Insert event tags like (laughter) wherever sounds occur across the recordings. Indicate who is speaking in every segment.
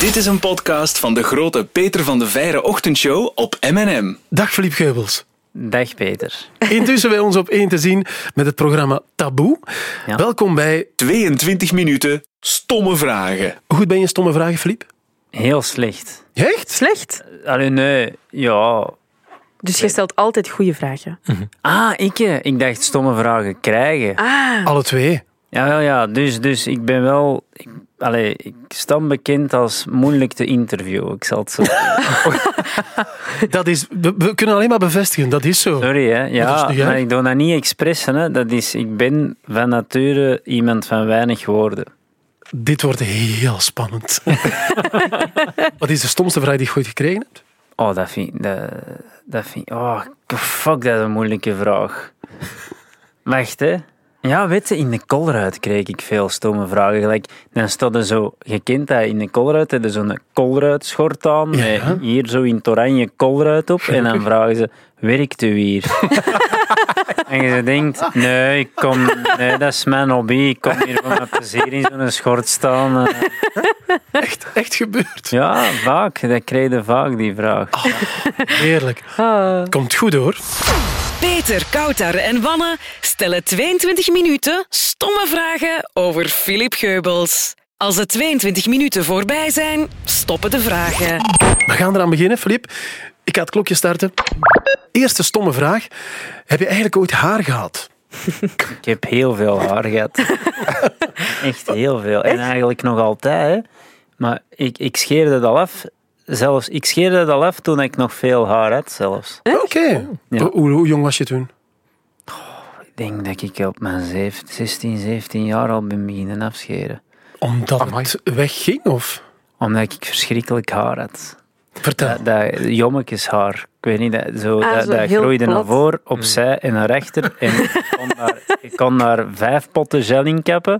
Speaker 1: Dit is een podcast van de grote Peter van de Veire ochtendshow op M&M.
Speaker 2: Dag Filip Geubels.
Speaker 3: Dag Peter.
Speaker 2: Intussen bij ons op één te zien met het programma Taboe.
Speaker 3: Ja.
Speaker 2: Welkom bij...
Speaker 1: 22 minuten stomme vragen.
Speaker 2: Hoe goed ben je in stomme vragen, Filip?
Speaker 3: Heel slecht.
Speaker 2: Echt?
Speaker 4: Slecht.
Speaker 3: Allee, nee. Ja.
Speaker 4: Dus je stelt altijd goede vragen.
Speaker 3: Ah, ik, eh, ik dacht stomme vragen krijgen.
Speaker 4: Ah,
Speaker 2: Alle twee.
Speaker 3: Jawel, ja. Dus, dus ik ben wel... Ik, allee, ik stam bekend als moeilijk te interviewen. Ik zal het zo...
Speaker 2: Dat is... We, we kunnen alleen maar bevestigen, dat is zo.
Speaker 3: Sorry, hè.
Speaker 2: Dat is
Speaker 3: Ja,
Speaker 2: niet erg.
Speaker 3: maar ik doe dat niet expres. Hè. Dat is, ik ben van nature iemand van weinig woorden.
Speaker 2: Dit wordt heel
Speaker 3: (laughs)
Speaker 2: spannend. Wat is de stomste vraag die je ooit gekregen hebt?
Speaker 3: Oh, dat vind ik... Dat, dat vind ik- Oh, fuck, dat is een moeilijke vraag. (laughs) Wacht, hè. Ja, weet je, in de kolruit kreeg ik veel stomme vragen. Gelijk, dan stond er zo... Je kent dat, in de kolruit hebben ze zo'n kolruitschort aan.
Speaker 2: Ja.
Speaker 3: met Hier zo in het oranje kolruit op. En dan vragen ze, werkt u (laughs) hier? en je denkt, nee, ik kom, nee, dat is mijn hobby. Ik kom hier voor mijn plezier in zo'n schort staan. (laughs) Eh,
Speaker 2: Echt, echt gebeurd.
Speaker 3: Ja, vaak. Dat kreeg je vaak, die vraag.
Speaker 2: Heerlijk.
Speaker 3: Ah.
Speaker 2: Komt goed hoor.
Speaker 5: Peter, Kouter en Wanne stellen 22 minuten stomme vragen over Philip Geubels. Als de 22 minuten voorbij zijn, stoppen de vragen.
Speaker 2: We gaan eraan beginnen, Filip. Ik ga het klokje starten. Eerste stomme vraag. Heb je eigenlijk ooit haar gehad?
Speaker 3: Ik heb heel veel haar gehad. Echt heel veel. En eigenlijk nog altijd. Hè. Maar ik, ik scheerde dat al af. Zelfs, ik scheerde dat al af toen ik nog veel haar had zelfs.
Speaker 2: Oké.
Speaker 3: Oh.
Speaker 2: Hoe- Hoe, hoe jong was je toen?
Speaker 3: Ik denk dat ik op mijn zeef- 16, 17 jaar al ben beginnen afscheren.
Speaker 2: Omdat het wegging? Of?
Speaker 3: Omdat ik verschrikkelijk haar had.
Speaker 2: Vertel.
Speaker 3: Dat, Eh, dat jommekeshaar. Ik weet niet, dat, zo,
Speaker 4: Ah,
Speaker 3: dat,
Speaker 4: zo
Speaker 3: dat
Speaker 4: heel
Speaker 3: groeide naar
Speaker 4: plat.
Speaker 3: voor,
Speaker 2: Mm.
Speaker 3: opzij en naar achter. En ik kon
Speaker 4: (laughs)
Speaker 3: daar, ik kon daar vijf potten gel in kappen.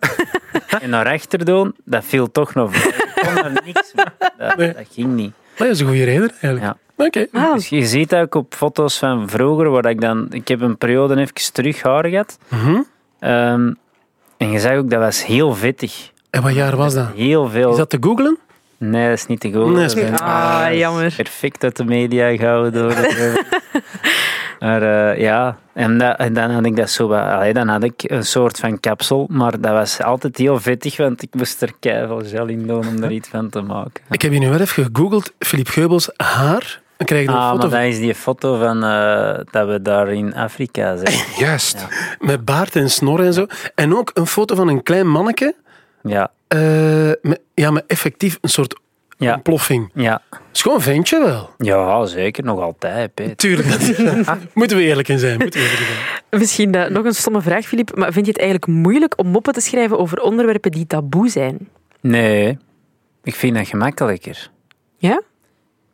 Speaker 3: En naar achter doen, dat viel toch nog voor. Ik kon daar niks mee. Dat,
Speaker 2: Nee.
Speaker 3: dat ging niet.
Speaker 2: Maar dat is een goede reden eigenlijk.
Speaker 3: Ja.
Speaker 2: Oké.
Speaker 4: Ah,
Speaker 3: Dus je ziet ook op foto's van vroeger, waar ik dan... Ik heb een periode even terug haar gehad.
Speaker 2: Mhm.
Speaker 3: Ehm, en je zag ook, dat was heel vettig.
Speaker 2: En wat jaar was dat?
Speaker 3: Heel veel...
Speaker 2: Is dat te googlen?
Speaker 3: Nee, dat is niet te goed.
Speaker 2: Nee, dat is
Speaker 3: Dat
Speaker 2: niet-
Speaker 3: is-
Speaker 4: Ah,
Speaker 3: dat is
Speaker 4: jammer.
Speaker 3: Perfect uit de media gehouden door. maar eh, ja, en, dat- en dan had ik dat zo wat- allee, dan had ik een soort van kapsel, maar dat was altijd heel vettig, want ik moest er keivel gel in doen om er iets van te maken.
Speaker 2: Ik heb hier nu wel even gegoogeld. Filip Geubels, haar. Dan krijg je een
Speaker 3: Ah,
Speaker 2: foto
Speaker 3: maar
Speaker 2: van-
Speaker 3: dat is die foto van eh, dat we daar in Afrika
Speaker 2: (laughs)
Speaker 3: zijn.
Speaker 6: Juist.
Speaker 2: met baard en snor en zo. En ook een foto van een klein manneke.
Speaker 3: Ja,
Speaker 2: eh, met, ja, maar effectief een soort
Speaker 3: ja,
Speaker 2: ontploffing.
Speaker 3: ja.
Speaker 2: Schoon ventje wel.
Speaker 3: ja zeker, nog altijd, Peter.
Speaker 2: Tuurlijk. dat- (laughs) moeten we eerlijk in zijn. Moeten we eerlijk in zijn.
Speaker 4: misschien eh, nog een stomme vraag, Filip. Maar vind je het eigenlijk moeilijk om moppen te schrijven over onderwerpen die taboe zijn?
Speaker 3: Nee, ik vind dat gemakkelijker.
Speaker 4: Ja? (laughs)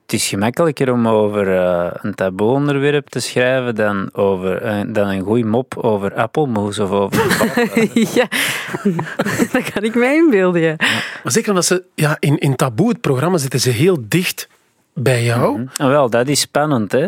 Speaker 3: Het is gemakkelijker om over eh, een taboe-onderwerp te schrijven dan, over, eh, dan een goede mop over appelmoes of over...
Speaker 4: ja, (laughs) dat kan ik mij inbeelden. ja.
Speaker 2: Maar zeker omdat ze ja, in, in Taboe, het programma, zitten ze heel dicht bij jou.
Speaker 3: Ah, wel, dat is spannend, hè.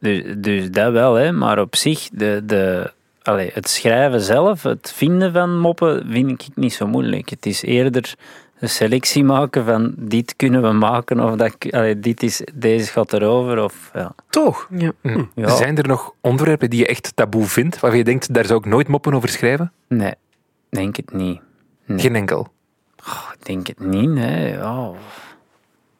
Speaker 3: Dus, dus dat wel, hè. Maar op zich, de, de, allee, het schrijven zelf, het vinden van moppen, vind ik niet zo moeilijk. Het is eerder een selectie maken van dit kunnen we maken of dat, allee, dit is, deze gaat erover. Of, ja.
Speaker 2: Toch?
Speaker 4: Ja.
Speaker 3: Ja.
Speaker 6: Hm. Zijn er nog onderwerpen die je echt taboe vindt, waarvan je denkt, daar zou ik nooit moppen over schrijven?
Speaker 3: Nee, denk het niet.
Speaker 6: Geen enkel.
Speaker 3: Ik denk het niet, nee. Ja.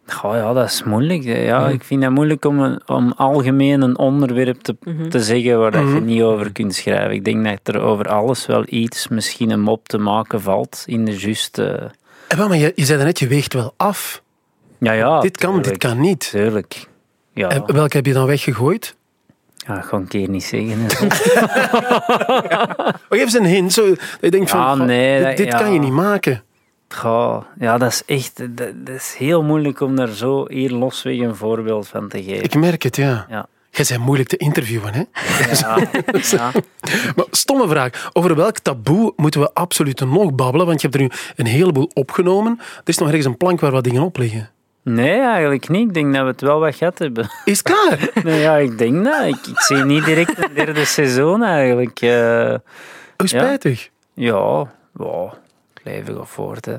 Speaker 3: Goh, ja, dat is moeilijk. hè.
Speaker 2: Mhm.
Speaker 3: Ja, ik vind het moeilijk om, een, om algemeen een onderwerp te,
Speaker 2: Mhm.
Speaker 3: te zeggen waar dat je niet over kunt schrijven. Ik denk dat er over alles wel iets, misschien een mop te maken valt in de juiste...
Speaker 2: En wel, maar je, je zei daarnet, je weegt wel af.
Speaker 3: Ja, ja.
Speaker 2: dit kan, dit
Speaker 3: tuurlijk,
Speaker 2: kan niet.
Speaker 3: Tuurlijk. Ja,
Speaker 2: En eh, welke heb je dan weggegooid?
Speaker 3: ja gewoon een keer niet zeggen. hè. (laughs) Zo.
Speaker 2: Oh, geef eens een hint. Zo, dat je denkt van,
Speaker 3: Ja,
Speaker 2: goh,
Speaker 3: nee,
Speaker 2: dit,
Speaker 3: dat-
Speaker 2: dit
Speaker 3: ja.
Speaker 2: kan je niet maken.
Speaker 3: Goh, ja, dat is echt... Dat, dat is heel moeilijk om daar zo hier losweg een voorbeeld van te geven.
Speaker 2: Ik merk het, ja.
Speaker 3: Ja.
Speaker 2: Jij bent moeilijk te interviewen, hè? (laughs)
Speaker 3: Ja, ja.
Speaker 2: Maar stomme vraag. Over welk taboe moeten we absoluut nog babbelen? Want je hebt er nu een heleboel opgenomen. Er is nog ergens een plank waar wat dingen op liggen.
Speaker 3: Nee, eigenlijk niet. Ik denk dat we het wel wat gehad hebben.
Speaker 2: Is het
Speaker 3: (laughs)
Speaker 2: klaar? Oh,
Speaker 3: Nou ja, ik denk dat. Ik, ik zie niet direct een derde seizoen eigenlijk. Eh,
Speaker 2: Hoe spijtig.
Speaker 3: ja, wow, het leven gaat voort. Hè.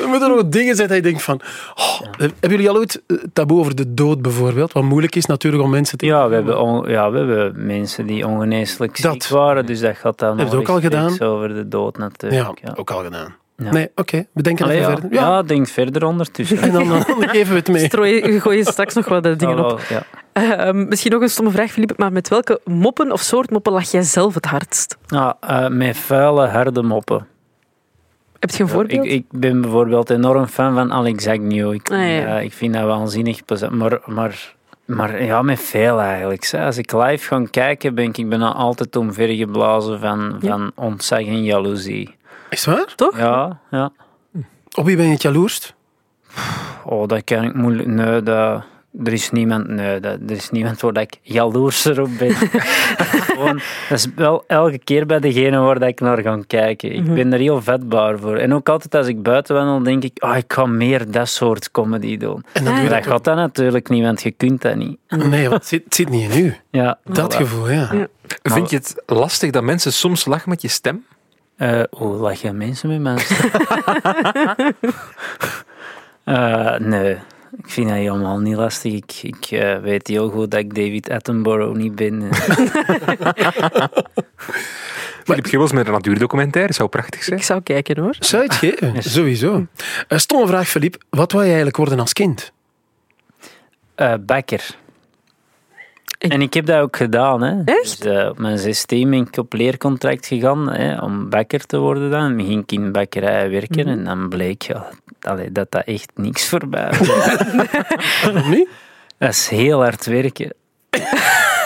Speaker 2: Er moeten nog dingen zijn dat je denkt van... oh, hebben jullie al ooit eh, taboe over de dood bijvoorbeeld? Wat moeilijk is natuurlijk om mensen te...
Speaker 3: Ja, we hebben, on- ja, we hebben mensen die ongeneeslijk ziek
Speaker 2: Dat.
Speaker 3: waren, dus dat gaat dan
Speaker 2: Heb je het
Speaker 3: nog
Speaker 2: ook al
Speaker 3: rechtstreeks
Speaker 2: gedaan?
Speaker 3: over de dood
Speaker 2: Ja,
Speaker 3: natuurlijk. Ja.
Speaker 2: ook al gedaan.
Speaker 3: Ja.
Speaker 2: Nee, oké. We denken
Speaker 3: Allee,
Speaker 2: even
Speaker 3: ja.
Speaker 2: verder.
Speaker 3: ja, denk verder ondertussen.
Speaker 2: En (laughs) dan, dan geven we het mee.
Speaker 4: Strooi, gooi je straks nog wat eh, dingen
Speaker 3: Oh,
Speaker 4: op.
Speaker 3: wel, ja.
Speaker 4: Eh, misschien nog een stomme vraag, Philippe, maar met welke moppen of soort moppen lag jij zelf het hardst?
Speaker 3: Nou, eh, met vuile, harde moppen.
Speaker 4: Heb je een voorbeeld?
Speaker 3: Ik, ik ben bijvoorbeeld enorm fan van Alex Agnew. Ik,
Speaker 4: Ah, ja.
Speaker 3: eh, ik vind dat waanzinnig plezant. Maar, maar, maar ja, met veel eigenlijk. zeg. Als ik live ga kijken, ben ik, ik ben altijd omvergeblazen van,
Speaker 4: Ja.
Speaker 3: van ontzag en jaloezie.
Speaker 2: Is het waar?
Speaker 4: Toch?
Speaker 3: Ja, ja.
Speaker 2: Op wie ben je het jaloerst?
Speaker 3: Oh, dat kan ik moeilijk. Nee, dat, er is niemand. Nee, dat, er is niemand waar dat ik jaloerser op ben. (laughs) Gewoon, dat is wel elke keer bij degene waar dat ik naar ga kijken. Ik ben er heel vetbaar voor. En ook altijd als ik buiten wandel, denk ik, ah, ik ga meer dat soort comedy doen.
Speaker 2: En dan
Speaker 4: Ah,
Speaker 2: doe je
Speaker 3: Maar
Speaker 2: dat
Speaker 3: dat gaat dat natuurlijk niet, want je kunt dat niet.
Speaker 2: ook- Nee, want het zit, het zit niet in u.
Speaker 3: Ja,
Speaker 2: Dat
Speaker 3: voilà.
Speaker 2: gevoel, ja.
Speaker 4: Ja.
Speaker 6: Vind je het lastig dat mensen soms lachen met je stem?
Speaker 3: Eh, hoe lach je mensen met mensen? Eh, nee, ik vind dat helemaal niet lastig. Ik, ik eh, weet heel goed dat ik David Attenborough niet ben. eh.
Speaker 6: Philip Geubels met een natuurdocumentaire zou prachtig zijn.
Speaker 4: Ik zou kijken hoor.
Speaker 2: Zou je het geven? Sowieso. Een stomme vraag, Filip. Wat wou je eigenlijk worden als kind?
Speaker 3: Eh, bakker. En ik heb dat ook gedaan. Hè.
Speaker 4: Echt?
Speaker 3: Dus, eh, op mijn 16 ben ik op leercontract gegaan hè, om bakker te worden. Dan ging ik in een bakkerij werken en dan bleek ja, allee, dat dat echt niks voor mij was.
Speaker 2: Waarom niet?
Speaker 3: dat is heel hard werken.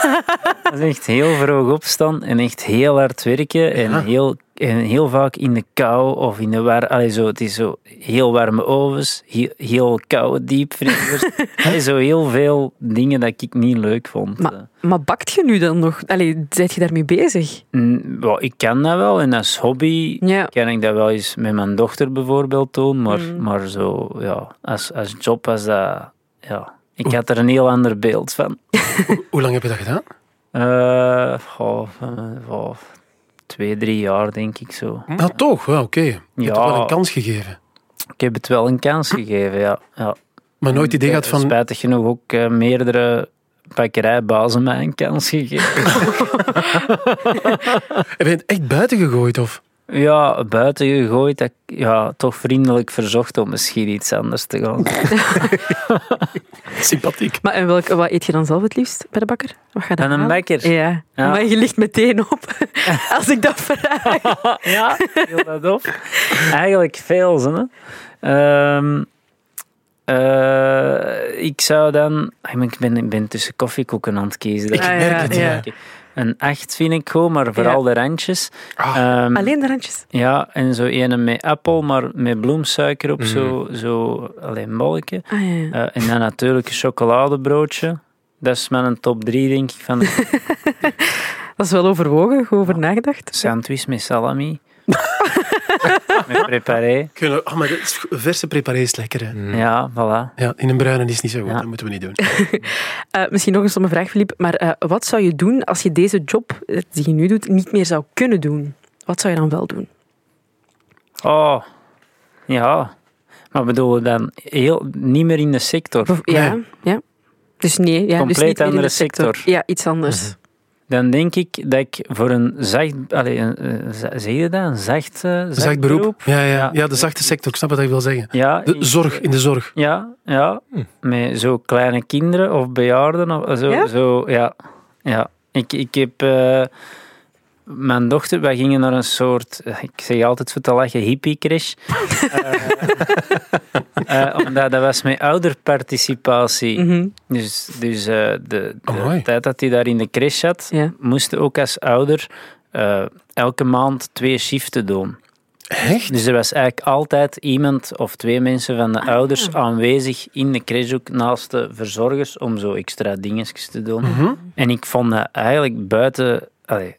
Speaker 3: (laughs) dat is echt heel vroeg opstaan en echt heel hard werken. En,
Speaker 2: Ja.
Speaker 3: heel, en heel vaak in de kou of in de war. Allee, zo, het is zo heel warme ovens, he- heel koude
Speaker 4: (laughs)
Speaker 3: diepvriezers. Allee, zo heel veel dingen dat ik niet leuk vond.
Speaker 4: Maar, maar bakt je nu dan nog? Allee, zijt je daarmee bezig?
Speaker 3: Mm, wel, ik kan dat wel en als hobby
Speaker 4: Ja. Mm.
Speaker 3: kan ik dat wel eens met mijn dochter bijvoorbeeld doen, maar, maar zo, ja, als, als job was dat, ja. Ik had er een heel ander beeld van.
Speaker 2: Hoe lang heb je dat gedaan?
Speaker 3: Eh, goh, eh, goh, twee, drie jaar denk ik zo.
Speaker 2: Nou, toch? Wel, oké. Je hebt
Speaker 3: Ja.
Speaker 2: toch wel een kans gegeven.
Speaker 3: Ik heb het wel een kans gegeven, ja. ja. Eh,
Speaker 2: Maar nooit het idee gehad van...
Speaker 3: Spijtig genoeg ook eh, meerdere bakkerijbazen mij een kans gegeven. (laughs)
Speaker 2: Heb je het echt buiten gegooid? Of?
Speaker 3: ja, buiten gegooid, dat ik, ja, toch vriendelijk verzocht om misschien iets anders te gaan.
Speaker 2: Sympathiek.
Speaker 4: Maar en welk, wat eet je dan zelf het liefst bij de bakker? Wat ga je dan
Speaker 3: Van een
Speaker 4: halen?
Speaker 3: bakker?
Speaker 4: Ja.
Speaker 3: Ja.
Speaker 4: maar je ligt meteen (laughs) op als ik dat vraag.
Speaker 3: (laughs) Ja, heel dat op. Eigenlijk veel, hè. Ehm, eh, ik zou dan... Ah, maar Ik ben, ik ben tussen koffiekoeken aan het kiezen. Dat
Speaker 4: Ah, ja,
Speaker 3: is moeilijk.
Speaker 4: ja.
Speaker 3: Een acht vind ik goed, maar vooral de randjes. Ehm,
Speaker 4: (laughs) Alleen de randjes.
Speaker 3: Ja, en zo ene met appel, maar met bloemsuiker op, zo, zo alleen bolletje.
Speaker 4: Ah, ja, ja.
Speaker 3: Eh, en dan natuurlijk een chocoladebroodje. Dat is mijn top 3, denk ik, van de
Speaker 4: Dat is wel overwogen, goed over nagedacht.
Speaker 3: sandwich met salami. met preparé.
Speaker 2: Kunnen, oh, maar dat is- verse preparé is lekker, hè.
Speaker 3: Ja, voilà.
Speaker 2: Ja, in een bruine is het niet zo goed.
Speaker 3: Ja.
Speaker 2: Dat moeten we niet doen.
Speaker 4: Eh, misschien nog een stomme vraag, Filip. Maar eh, wat zou je doen als je deze job eh, die je nu doet niet meer zou kunnen doen? Wat zou je dan wel doen?
Speaker 3: Oh, ja. Maar bedoel je dan heel, niet meer in de sector?
Speaker 4: Of- Ja, ja. Dus nee, ja, dus
Speaker 3: Compleet
Speaker 4: niet meer in
Speaker 3: andere
Speaker 4: de sector.
Speaker 3: sector.
Speaker 4: Ja, iets anders.
Speaker 3: Dan denk ik dat ik voor een zacht... Allee, een, eh, za- zeg je dat? Een zacht, eh, zacht,
Speaker 2: Zacht
Speaker 3: beroep?
Speaker 2: beroep. Ja, ja.
Speaker 3: Ja.
Speaker 2: ja, de zachte sector. Ik snap wat je wil zeggen.
Speaker 3: Ja,
Speaker 2: De zorg, in de zorg.
Speaker 3: ja, ja. Met zo kleine kinderen of bejaarden. Of zo,
Speaker 4: Ja?
Speaker 3: ja? Zo, ja. ja. Ik, ik heb... eh, mijn dochter, wij gingen naar een soort, eh, ik zeg altijd voor te lachen, hippie (laughs) crash. eh, omdat dat was met ouderparticipatie.
Speaker 4: Mhm.
Speaker 3: Dus, dus eh, de, de
Speaker 2: Amai.
Speaker 3: tijd dat hij daar in de crash zat,
Speaker 4: Ja.
Speaker 3: moest ook als ouder eh, elke maand twee shiften doen.
Speaker 2: Echt?
Speaker 3: Dus er was eigenlijk altijd iemand of twee mensen van de ouders aanwezig in de crash ook naast de verzorgers om zo extra dingetjes te doen. En ik vond dat eigenlijk buiten allee,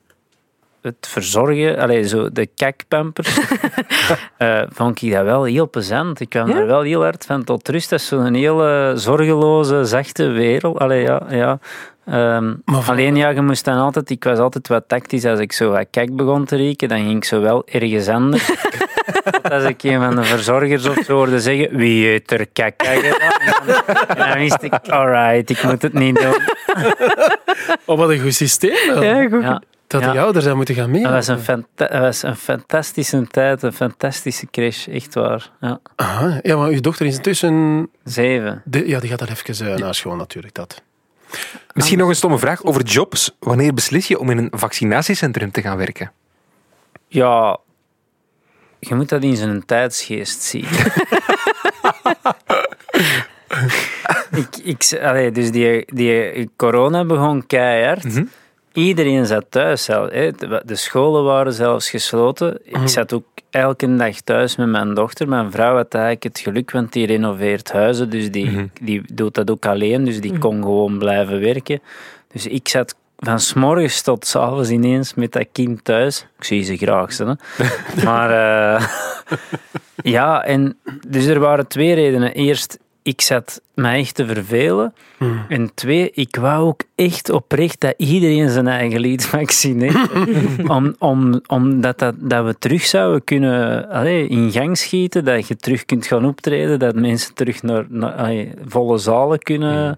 Speaker 3: het verzorgen, allee, zo de kakpampers, eh, vond ik dat wel heel plezant. Ik kwam
Speaker 4: Ja?
Speaker 3: er wel heel hard van tot rust. Dat is zo'n hele zorgeloze, zachte wereld. Allee, ja, ja. Ehm,
Speaker 2: Maar van-
Speaker 3: alleen ja, je moest dan altijd, ik was altijd wat tactisch. Als ik zo wat kijk begon te rieken, dan ging ik zo wel ergens
Speaker 2: (laughs)
Speaker 3: anders. Tot als ik een van de verzorgers of zo hoorde zeggen: Wie heeft er kijk gedaan? En dan wist ik: Alright, ik moet het niet doen.
Speaker 2: Oh, wat een goed systeem. wel.
Speaker 4: Oh. Ja, goed.
Speaker 3: Ja.
Speaker 2: Dat
Speaker 3: Ja.
Speaker 2: die ouders daar moeten gaan mee.
Speaker 3: Dat was een, fanta- dat was een fantastische tijd, een fantastische crash, echt waar. Ja.
Speaker 2: Aha. Ja, maar uw dochter is intussen...
Speaker 3: Zeven.
Speaker 2: De, ja, die gaat daar even eh, naar school natuurlijk. Dat.
Speaker 6: Misschien nog een stomme vraag over jobs. Wanneer beslis je om in een vaccinatiecentrum te gaan werken?
Speaker 3: Ja, je moet dat in zijn tijdsgeest zien. ik, ik, allee, dus die, die corona begon keihard. Iedereen zat thuis. zelf, hè. De de scholen waren zelfs gesloten. Ik zat ook elke dag thuis met mijn dochter. Mijn vrouw had eigenlijk het geluk, want die renoveert huizen. Dus die, die doet dat ook alleen. Dus die kon gewoon blijven werken. Dus ik zat van s morgens tot s avonds ineens met dat kind thuis. Ik zie ze graag, ze, hè. Maar eh, ja, en dus er waren twee redenen. Eerst, ik zat mij echt te vervelen. En twee, ik wou ook echt oprecht dat iedereen zijn eigen lied vaccineerde. om, om, omdat dat, dat we terug zouden kunnen allee, in gang schieten, dat je terug kunt gaan optreden, dat mensen terug naar, naar allee, volle zalen kunnen.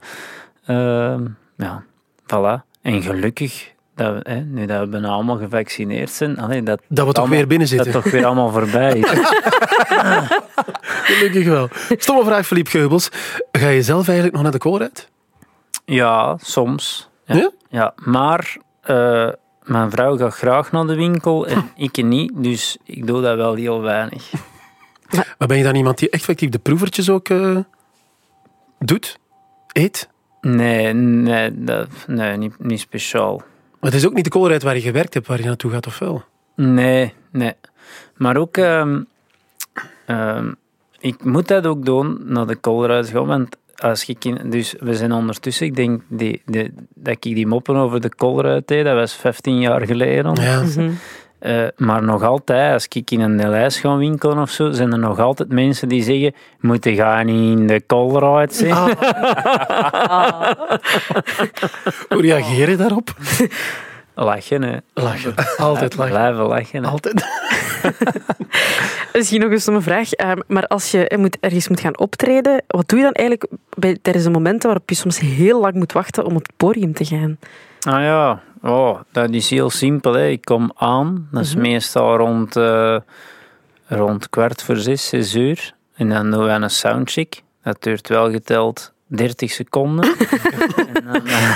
Speaker 3: Ehm, ja, voilà. En gelukkig, dat we, hè, nu dat we bijna allemaal gevaccineerd zijn, allee, dat,
Speaker 2: Dat we toch
Speaker 3: Allemaal-
Speaker 2: weer binnen
Speaker 3: dat
Speaker 2: zitten.
Speaker 3: toch weer allemaal voorbij is.
Speaker 2: Gelukkig wel. Stomme vraag, Philippe Geubels. Ga je zelf eigenlijk nog naar de koor uit?
Speaker 3: Ja, soms. Ja.
Speaker 2: Ja?
Speaker 3: maar eh, mijn vrouw gaat graag naar de winkel en ik niet, dus ik doe dat wel heel weinig.
Speaker 2: Maar ben je dan iemand die effectief de proevertjes ook eh, doet? Eet?
Speaker 3: Nee, nee, dat, nee niet, niet speciaal.
Speaker 2: Maar het is ook niet de koolruit waar je gewerkt hebt, waar je naartoe gaat, of wel?
Speaker 3: Nee, nee. Maar ook, ehm, ehm, ik moet dat ook doen naar de koolruis gaan. Want als ik in, dus we zijn ondertussen, ik denk die, die- dat ik die moppen over de koolruis deed, dat was 15 jaar geleden. ongeveer.
Speaker 2: Ja.
Speaker 4: Mhm.
Speaker 3: Eh, maar nog altijd, als ik in een lijst ga winkelen of zo, zijn er nog altijd mensen die zeggen: Moet je gaan niet in de Colruyt zijn?
Speaker 2: Hoe reageer je daarop?
Speaker 3: Lachen, hè.
Speaker 2: Lachen. Altijd lachen.
Speaker 3: Blijven lachen. hè.
Speaker 2: Altijd. (laughs)
Speaker 4: Misschien nog een stomme vraag. eh, maar als je eh, moet, ergens moet gaan optreden, wat doe je dan eigenlijk bij, tijdens de momenten waarop je soms heel lang moet wachten om op het podium te gaan?
Speaker 3: Ah ja, oh, dat is heel simpel. Hè. Ik kom aan, dat is meestal rond, eh, rond kwart voor zes, zes uur. En dan doen we een soundcheck. Dat duurt wel geteld 30 seconden. en dan, eh,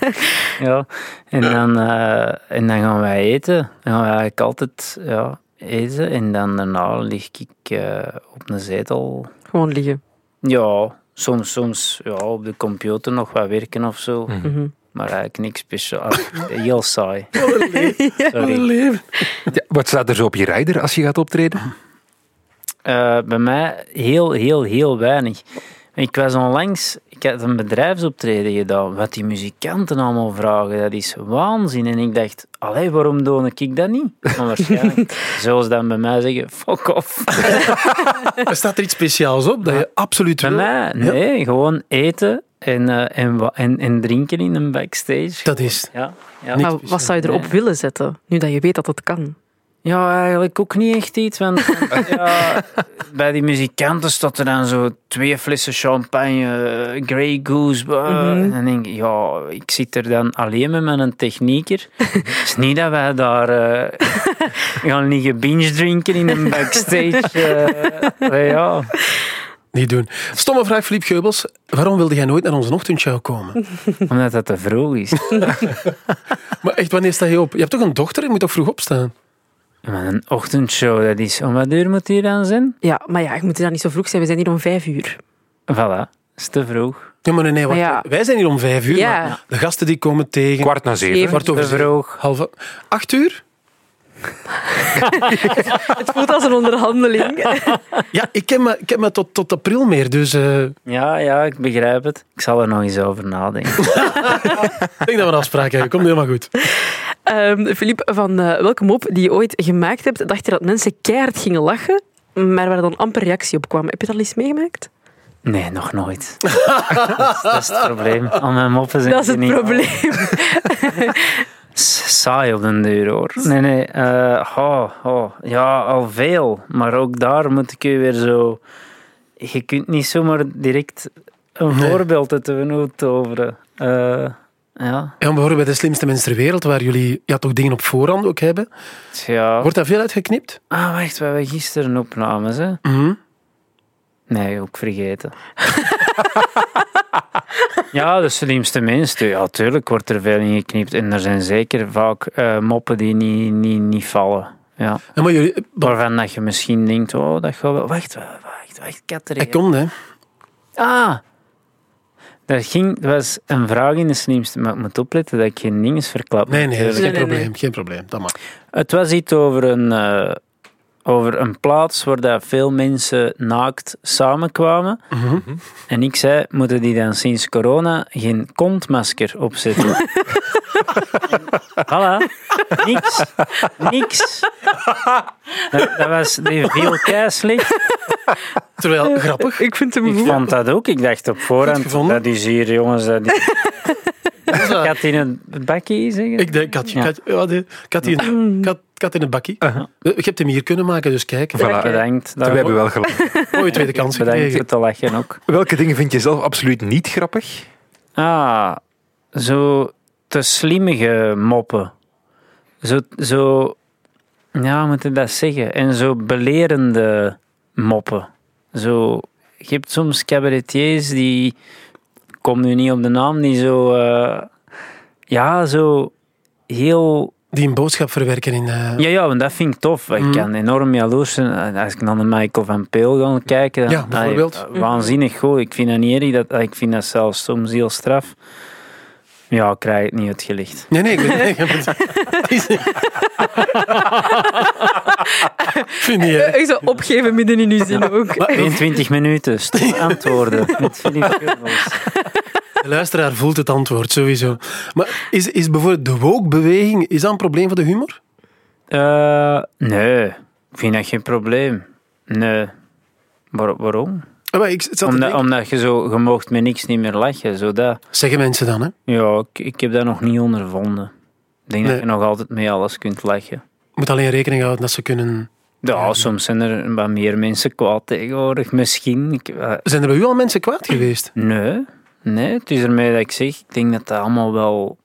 Speaker 3: (laughs) ja, en dan, eh, en dan gaan wij eten. Dan gaan wij eigenlijk altijd ja, eten. En dan daarna lig ik eh, op een zetel.
Speaker 4: Gewoon liggen.
Speaker 3: Ja, soms, soms ja, op de computer nog wat werken of zo.
Speaker 4: Mhm.
Speaker 3: Maar eigenlijk niks speciaal. Ah, Heel saai. (laughs) Sorry.
Speaker 2: Leven.
Speaker 6: Ja, wat staat er zo op je rider als je gaat optreden?
Speaker 3: Eh, bij mij heel, heel, heel weinig. Ik was onlangs, ik had een bedrijfsoptreden gedaan. Wat die muzikanten allemaal vragen, dat is waanzin. En ik dacht, allee, waarom doe ik dat niet? Maar waarschijnlijk, zoals dan bij mij zeggen, fuck off.
Speaker 2: Er staat er iets speciaals op dat je absoluut
Speaker 3: Bij
Speaker 2: wil?
Speaker 3: mij, nee, gewoon eten en, eh, en, wa- en, en drinken in een backstage.
Speaker 2: Dat is.
Speaker 3: Ja, ja.
Speaker 2: Niks
Speaker 4: Maar wat zou je erop
Speaker 3: Nee.
Speaker 4: willen zetten, nu dat je weet dat dat kan?
Speaker 3: Ja, eigenlijk ook niet echt iets. Want ja, bij die muzikanten staat er dan zo twee flessen champagne, eh, Grey Goose. bah. En dan denk ik, ja, ik zit er dan alleen met mijn technieker. Het is niet dat wij daar eh, gaan liggen binge drinken in een backstage. eh. Nee, ja.
Speaker 2: Niet doen. Stomme vraag, Philippe Geubels. Waarom wilde jij nooit naar onze ochtendshow komen?
Speaker 3: Omdat dat te vroeg is.
Speaker 2: Maar echt, wanneer sta je op? Je hebt toch een dochter? Je moet toch vroeg opstaan?
Speaker 3: Maar een ochtendshow, dat is... Om wat uur moet die dan zijn?
Speaker 4: Ja, maar ja, je moet dan niet zo vroeg zijn. We zijn hier om vijf uur.
Speaker 3: Voilà, dat is te vroeg.
Speaker 2: Ja, maar nee, nee wacht.
Speaker 4: Maar ja.
Speaker 2: Wij zijn hier om vijf uur.
Speaker 4: Ja.
Speaker 2: maar De gasten die komen tegen.
Speaker 6: Kwart na zeven.
Speaker 2: Kwart over
Speaker 3: Te
Speaker 2: zeven.
Speaker 3: vroeg.
Speaker 2: Halve... Acht uur?
Speaker 4: Het voelt als een onderhandeling.
Speaker 2: Ja, ik ken me, ik ken me tot, tot april meer, dus eh,
Speaker 3: Ja, ja, ik begrijp het. Ik zal er nog eens over nadenken.
Speaker 2: ik denk dat we een afspraak hebben. Komt helemaal goed.
Speaker 4: (laughs) Ehm Filip, van eh, welke mop die je ooit gemaakt hebt, dacht je dat mensen keihard gingen lachen, maar waar dan amper reactie op kwam? Heb je dat al eens meegemaakt?
Speaker 3: Nee, nog nooit. (laughs) dat, is, dat is het probleem. Al mijn moppen zijn
Speaker 4: Dat is het
Speaker 3: niet
Speaker 4: probleem.
Speaker 3: S- (laughs) saai op den duur hoor. Nee, nee. eh, oh, oh, ja, al veel. Maar ook daar moet ik je weer zo. Je kunt niet zomaar direct een
Speaker 2: Nee.
Speaker 3: voorbeeld uit de hoed toveren. Eh, ja.
Speaker 2: Ja, we horen bij de slimste mensen ter wereld, waar jullie ja, toch dingen op voorhand ook hebben.
Speaker 3: Tja.
Speaker 2: Wordt daar veel uitgeknipt?
Speaker 3: Ah, wacht, we hebben gisteren opnames, hè?
Speaker 2: Mhm.
Speaker 3: Nee, ook vergeten. (laughs) ja, de slimste mensen. Ja, tuurlijk wordt er veel in geknipt. En er zijn zeker vaak eh, moppen die niet, niet, niet vallen. Ja.
Speaker 2: Ja, maar jullie...
Speaker 3: Waarvan dat je misschien denkt, oh, dat gaat wel... Wacht, wa- wacht, wacht,
Speaker 2: Hij
Speaker 3: Katterijn.
Speaker 2: kon, hè.
Speaker 3: Ah! Er ging, er was een vraag in de slimste, maar ik moet opletten dat ik geen ding is verklap.
Speaker 2: Nee, nee, dat is
Speaker 3: natuurlijk.
Speaker 2: geen
Speaker 4: Nee, nee,
Speaker 2: probleem.
Speaker 4: nee.
Speaker 2: Geen probleem, dat mag.
Speaker 3: Het was iets over een, eh, over een plaats waar dat veel mensen naakt samenkwamen.
Speaker 2: Mhm.
Speaker 3: En ik zei, moeten die dan sinds corona geen kontmasker opzetten?
Speaker 2: (laughs)
Speaker 3: En- voilà. Niks. Niks. Dat, dat was die viel keislicht.
Speaker 2: Terwijl, grappig.
Speaker 4: Ik vind hem
Speaker 3: Ik
Speaker 4: goed.
Speaker 3: vond dat ook. Ik dacht op
Speaker 2: Goed
Speaker 3: voorhand,
Speaker 2: gevonden.
Speaker 3: dat is hier, jongens,
Speaker 2: (laughs)
Speaker 3: dat is... Ik had in een bakkie zeggen.
Speaker 2: Ik oh, denk, kat,
Speaker 3: Ja.
Speaker 2: kat, ja, de- kat, in, kat, kat in het bakkie. Eh, Ik heb hem hier kunnen maken, dus kijk.
Speaker 6: Voilà.
Speaker 3: Bedankt.
Speaker 6: We
Speaker 3: daarvoor.
Speaker 6: hebben wel gelachen.
Speaker 2: Mooie tweede kans
Speaker 3: Bedankt voor
Speaker 2: gekregen.
Speaker 3: te lachen ook.
Speaker 6: Welke dingen vind je zelf absoluut niet grappig?
Speaker 3: Ah, zo te slimmige moppen. Zo, zo ja, hoe moet ik dat zeggen? En zo belerende moppen. Zo, je hebt soms cabaretiers die, ik kom nu niet op de naam, die zo, eh, ja, zo heel
Speaker 2: Die een boodschap verwerken in... eh,
Speaker 3: ja, ja, want dat vind ik tof. Ik
Speaker 2: Mhm.
Speaker 3: kan enorm jaloers zijn. eh, Als ik naar de Michael van Peel ga kijken... dan-
Speaker 2: Ja, bijvoorbeeld.
Speaker 3: Allee, waanzinnig goed. Ik vind dat niet erg. Dat, ik vind dat zelfs soms heel straf. Ja, ik krijg het niet uitgelicht.
Speaker 2: Nee, nee, ik ben- nee, ik
Speaker 3: (laughs)
Speaker 2: ben- Ik Vind je? hè?
Speaker 4: Ik zou opgeven midden in uw zin ook.
Speaker 3: 22
Speaker 2: (laughs)
Speaker 3: minuten. Stop antwoorden. Met Philippe Geubels.
Speaker 2: De luisteraar voelt het antwoord, sowieso. Maar is, is bijvoorbeeld de woke-beweging, is dat een probleem van de humor?
Speaker 3: Eh, nee. Ik vind dat geen probleem. Nee. Waar- waarom?
Speaker 2: Ah, maar ik zat te
Speaker 3: Omdat,
Speaker 2: denken-
Speaker 3: omdat je zo... Je moogt met niks niet meer lachen. Zo dat...
Speaker 2: Zeggen mensen dan, hè?
Speaker 3: Ja, ik, ik heb dat nog niet ondervonden. Ik denk
Speaker 2: Nee.
Speaker 3: dat je nog altijd mee alles kunt lachen.
Speaker 2: Moet alleen rekening houden dat ze kunnen...
Speaker 3: Ja, soms zijn er wat meer mensen kwaad tegenwoordig, misschien. Ik, eh,
Speaker 2: Zijn er bij u al mensen kwaad geweest?
Speaker 3: nee, nee, het is ermee dat ik zeg, ik denk dat dat allemaal wel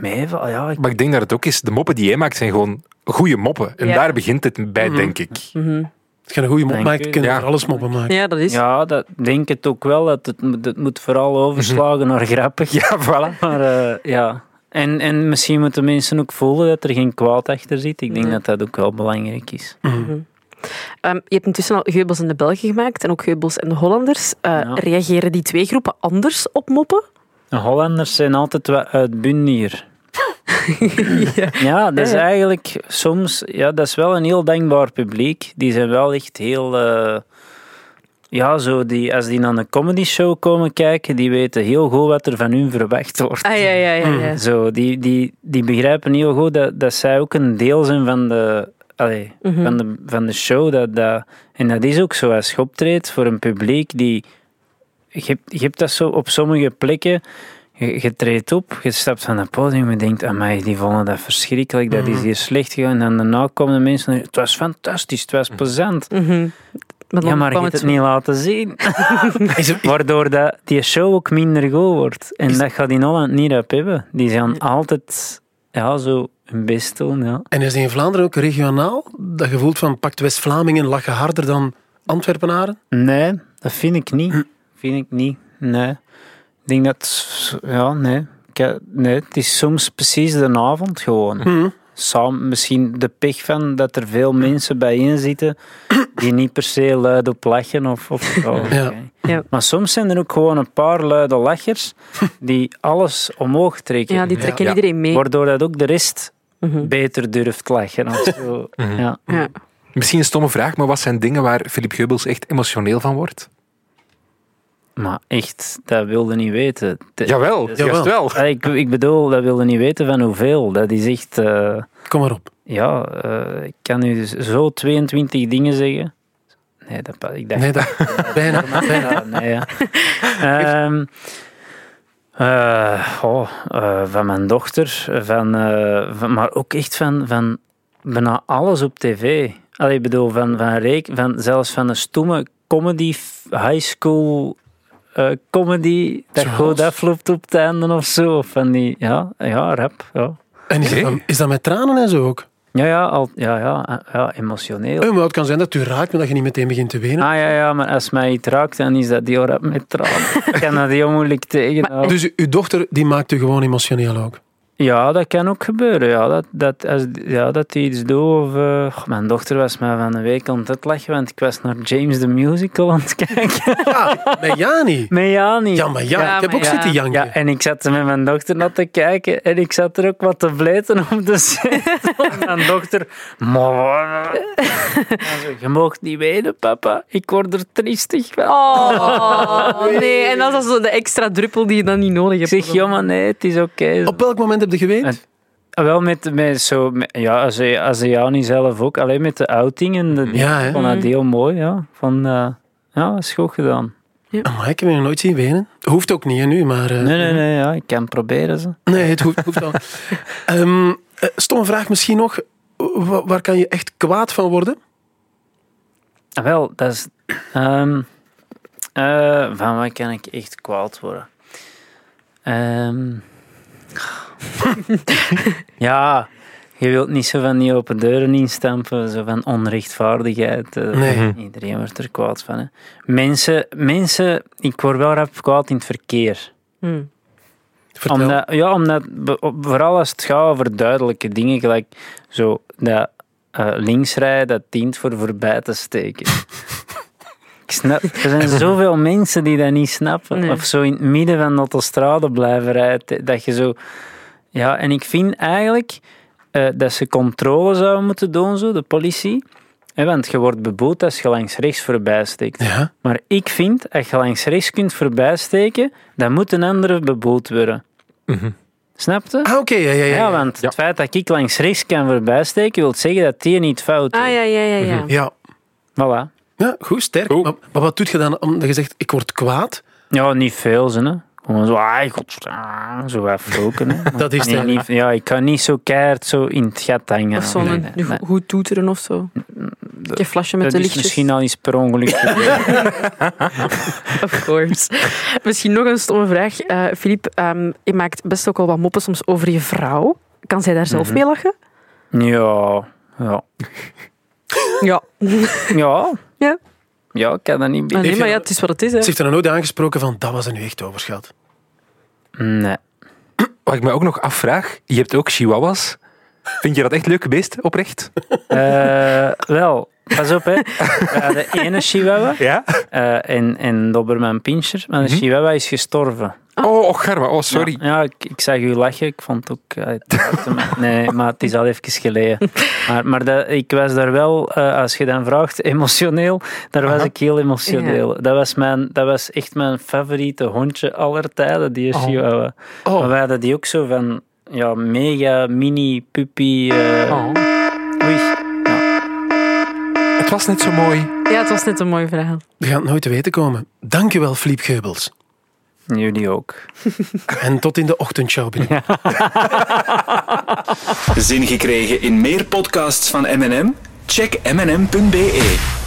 Speaker 3: meevalt. Ja, ik,
Speaker 6: Maar ik denk dat het ook is, de moppen die jij maakt zijn gewoon goede moppen. En
Speaker 4: Ja.
Speaker 6: daar begint het bij, denk ik.
Speaker 2: Als je een goede mop
Speaker 3: Dank
Speaker 2: maakt,
Speaker 3: u.
Speaker 2: kun je
Speaker 6: Ja.
Speaker 2: er alles moppen maken.
Speaker 4: (laughs) Ja, dat is.
Speaker 3: ja, dat denk het ook wel. Dat het, moet- het moet vooral overslagen naar grappig.
Speaker 6: Mhm. Ja, voilà.
Speaker 3: (laughs) Maar eh, ja, en, en misschien moeten mensen ook voelen dat er geen kwaad achter zit. Ik denk dat dat ook wel belangrijk is.
Speaker 4: Ehm, je hebt intussen al Geubels en de Belgen gemaakt en ook Geubels en de Hollanders. Eh,
Speaker 3: Ja.
Speaker 4: Reageren die twee groepen anders op moppen?
Speaker 3: De Hollanders zijn altijd wat uitbundiger.
Speaker 4: (laughs) Ja.
Speaker 3: Ja, dat is
Speaker 4: Ja, ja.
Speaker 3: eigenlijk soms... Ja, dat is wel een heel dankbaar publiek. Die zijn wel echt heel... eh, ja, zo die, als die naar een comedy show komen kijken, die weten heel goed wat er van hun verwacht wordt.
Speaker 4: Ah, ja, ja, ja. ja.
Speaker 3: Zo, die, die, die begrijpen heel goed dat, dat zij ook een deel zijn van de, allee,
Speaker 4: Mhm.
Speaker 3: van de, van de show. Dat, dat, en dat is ook zo. Als je optreedt voor een publiek die... Je, hebt- je hebt dat zo op sommige plekken. Je, je treedt op, je stapt van het podium en je denkt... Amai, die vonden dat verschrikkelijk, dat
Speaker 4: Mhm.
Speaker 3: is hier slecht gegaan. En dan daarna komen de mensen... Het was fantastisch, het was plezant.
Speaker 4: Mhm. dan
Speaker 3: Hmm. Ja, maar je
Speaker 4: kwam
Speaker 3: hebt het
Speaker 4: zo-
Speaker 3: niet laten zien.
Speaker 2: Is er-
Speaker 3: Waardoor dat die show ook minder goed wordt. En dat gaat in Holland niet op hebben. Die zijn altijd ja, zo hun best doen. Ja.
Speaker 2: En is die in Vlaanderen ook regionaal? Dat je voelt van, pakt West-Vlamingen, lachen harder dan Antwerpenaren?
Speaker 3: Nee, dat vind ik niet. Vind ik niet. Nee. Ik denk dat... Ja, nee. Ik- nee. Het is soms precies de avond gewoon. Samen misschien de pech van dat er veel mensen bijeen zitten die niet per se luid op lachen. Of, of, oh,
Speaker 2: Ja.
Speaker 3: oké.
Speaker 4: Ja.
Speaker 3: Maar soms zijn er ook gewoon een paar luide lachers die alles omhoog trekken.
Speaker 4: Ja, die trekken
Speaker 6: Ja.
Speaker 4: iedereen mee.
Speaker 3: Waardoor dat ook de rest
Speaker 4: Mhm.
Speaker 3: beter durft lachen. of zo. ja.
Speaker 4: Ja.
Speaker 6: Misschien een stomme vraag, maar wat zijn dingen waar Filip Geubels echt emotioneel van wordt?
Speaker 3: Maar echt, dat wilde niet weten. De-
Speaker 6: Jawel,
Speaker 2: Jawel.
Speaker 6: juist wel.
Speaker 3: Ah, ik, ik bedoel, dat wilde niet weten van hoeveel. Dat is echt... eh,
Speaker 2: Kom maar op.
Speaker 3: ja, eh, ik kan nu dus zo 22 dingen zeggen. Nee, dat, pa- ik dacht...
Speaker 6: (laughs)
Speaker 2: Nee, dat, bijna. bijna.
Speaker 3: (laughs) Ja, nee, ja. Ehm, eh, oh, eh, van mijn dochter, van, eh, van- maar ook echt van, van bijna alles op tv. Allee, ik bedoel, van, van, reek, van zelfs van een stomme comedy, f- high school eh, comedy, dat
Speaker 2: Zoals?
Speaker 3: goed afloopt op het einde of zo. Of van die, ja, ja, rap, ja.
Speaker 2: En is dat, dan- is dat met tranen en zo ook?
Speaker 3: Ja, ja, al, ja, ja, eh, ja emotioneel.
Speaker 2: Eh, maar het kan zijn dat u raakt, maar dat je niet meteen begint te wenen.
Speaker 3: Ah ja, ja, maar als mij iets raakt, dan is dat die rap met tranen. Ik kan dat heel moeilijk
Speaker 2: (laughs)
Speaker 3: tegenhouden.
Speaker 2: Dus u- uw dochter die maakt u gewoon emotioneel ook.
Speaker 3: Ja, dat kan ook gebeuren. Ja, dat, dat, als, ja, dat hij iets doet. Of, eh, goh, mijn dochter was mij van een week aan het uitlachen, want ik was naar James the Musical aan het (laughs) kijken.
Speaker 2: Ja, met Jani.
Speaker 3: Met Jani.
Speaker 2: Ja, maar ja,
Speaker 4: Ja,
Speaker 2: ik heb
Speaker 4: maar
Speaker 2: ook
Speaker 4: ja.
Speaker 2: zitten janken.
Speaker 3: Ja, en ik zat met mijn dochter naar te kijken en ik zat er ook wat te vleten op de zetel. En (laughs) mijn dochter... "Maar wat?" En zo, Je mag niet weten, papa. Ik word er triestig van.
Speaker 4: Oh, (laughs) nee. En dat is zo de extra druppel die je dan niet nodig
Speaker 3: Ik
Speaker 4: hebt.
Speaker 3: zeg, jongen, nee, het is oké.
Speaker 2: Op welk moment heb je
Speaker 3: En-
Speaker 2: geweend?
Speaker 3: Ah, Wel met, met zo, met- ja, als hij- als hij jou niet zelf ook, alleen met de outing en de,
Speaker 2: Ja, hè?
Speaker 3: ik vond dat heel mooi, ja. Van, eh, ja, is goed gedaan.
Speaker 2: Amai, ik heb je nog nooit zien wenen. Hoeft ook niet, hè, nu, maar... eh,
Speaker 3: Nee, nee, nee, ja, ik kan proberen ze.
Speaker 2: Nee, het hoeft, hoeft
Speaker 3: (laughs)
Speaker 2: al. Ehm, eh, stomme vraag misschien nog. Wa- waar kan je echt kwaad van worden?
Speaker 3: Ah, Wel, dat is, ehm, eh, van wat kan ik echt kwaad worden? Ehm, (laughs) ja, je wilt niet zo van die open deuren instampen, zo van onrechtvaardigheid. eh,
Speaker 2: Nee. Mhm.
Speaker 3: Iedereen wordt er kwaad van. Hè. Mensen, mensen, ik word wel rap kwaad in het verkeer.
Speaker 4: Hm.
Speaker 2: Vertel.
Speaker 3: Omdat, ja, omdat, be- op- vooral als het gaat over duidelijke dingen, gelijk zo, dat eh, links rijden, dat dient voor voorbij te steken. Ik snap, er zijn zoveel mensen die dat niet snappen.
Speaker 4: Nee.
Speaker 3: Of zo in het midden van de autostrade blijven rijden, dat je zo... Ja, en ik vind eigenlijk eh, dat ze controle zouden moeten doen, zo, de politie. Hè, want je wordt beboet als je langs rechts voorbij steekt.
Speaker 2: Ja,
Speaker 3: Maar ik vind, als je langs rechts kunt voorbijsteken, dan moet een andere beboet worden. Snap je?
Speaker 2: Mhm. ah, oké. ja, ja, ja,
Speaker 3: ja,
Speaker 2: ja.
Speaker 3: want
Speaker 6: Ja.
Speaker 3: het feit dat ik langs rechts kan voorbijsteken, wil zeggen dat die niet fout is.
Speaker 4: Ah, ja, ja, ja. ja.
Speaker 2: ja.
Speaker 3: Voilà.
Speaker 2: ja goed, sterk.
Speaker 6: Goed.
Speaker 2: Maar, maar wat doet je dan omdat je zegt, ik word kwaad?
Speaker 3: Ja, niet veel, ze, hè. Gewoon zo, ai, god, ah, zo
Speaker 2: (laughs)
Speaker 3: afroken. Hè. Maar
Speaker 2: Dat is
Speaker 3: nee,
Speaker 2: het,
Speaker 3: niet, Ja, ik kan niet zo keihard zo in het gat hangen.
Speaker 4: Of zo'n
Speaker 3: Nee, nee, nee.
Speaker 4: go- goed toeteren of zo. Een flasje met
Speaker 3: Dat
Speaker 4: de
Speaker 3: is
Speaker 4: lichtjes.
Speaker 3: misschien al iets per ongeluk. gebeurd.
Speaker 4: (laughs) Of course. misschien nog een stomme vraag. Eh, Filip, ehm, je maakt best ook al wat moppen soms over je vrouw. Kan zij daar zelf
Speaker 3: Mhm.
Speaker 4: mee lachen?
Speaker 3: ja, ja.
Speaker 4: Ja.
Speaker 3: Ja.
Speaker 4: Ja.
Speaker 3: Ja, ik kan dat niet
Speaker 4: Ah,
Speaker 3: bieden.
Speaker 4: nee, maar ja, het is wat het is. Hè.
Speaker 2: Ze heeft er nog nooit aangesproken van, dat was er nu echt overschat.
Speaker 3: Nee.
Speaker 6: Wat ik me ook nog afvraag, je hebt ook chihuahuas. Vind je dat echt leuke beesten, oprecht?
Speaker 3: Eh, wel, pas op hè. de ene chihuahua
Speaker 6: Ja?
Speaker 3: eh, en, en Doberman Pinscher, maar de chihuahua is gestorven.
Speaker 6: Oh, och, Garma, oh, sorry.
Speaker 3: Ja, ja, ik, ik zag u lachen, ik vond het ook... eh, het raakte me. nee, maar (laughs) het is al even geleden. Maar, maar dat, ik was daar wel, eh, als je dan vraagt, emotioneel, daar was ik heel emotioneel. Dat, was mijn, dat was echt mijn favoriete hondje aller tijden, die
Speaker 6: Oh.
Speaker 3: chihuahua. Maar
Speaker 2: Oh,
Speaker 3: wij hadden die ook zo van, ja, mega mini puppy... eh,
Speaker 6: Oh.
Speaker 3: Oei.
Speaker 6: Het was net zo mooi.
Speaker 4: Ja, het was net een mooi verhaal.
Speaker 2: we gaan het nooit te weten komen. Dankjewel, Fliep Geubels.
Speaker 3: Jullie ook.
Speaker 2: En tot in de ochtendshow binnen.
Speaker 1: Zin gekregen in meer podcasts van M&M? Check mnm.be.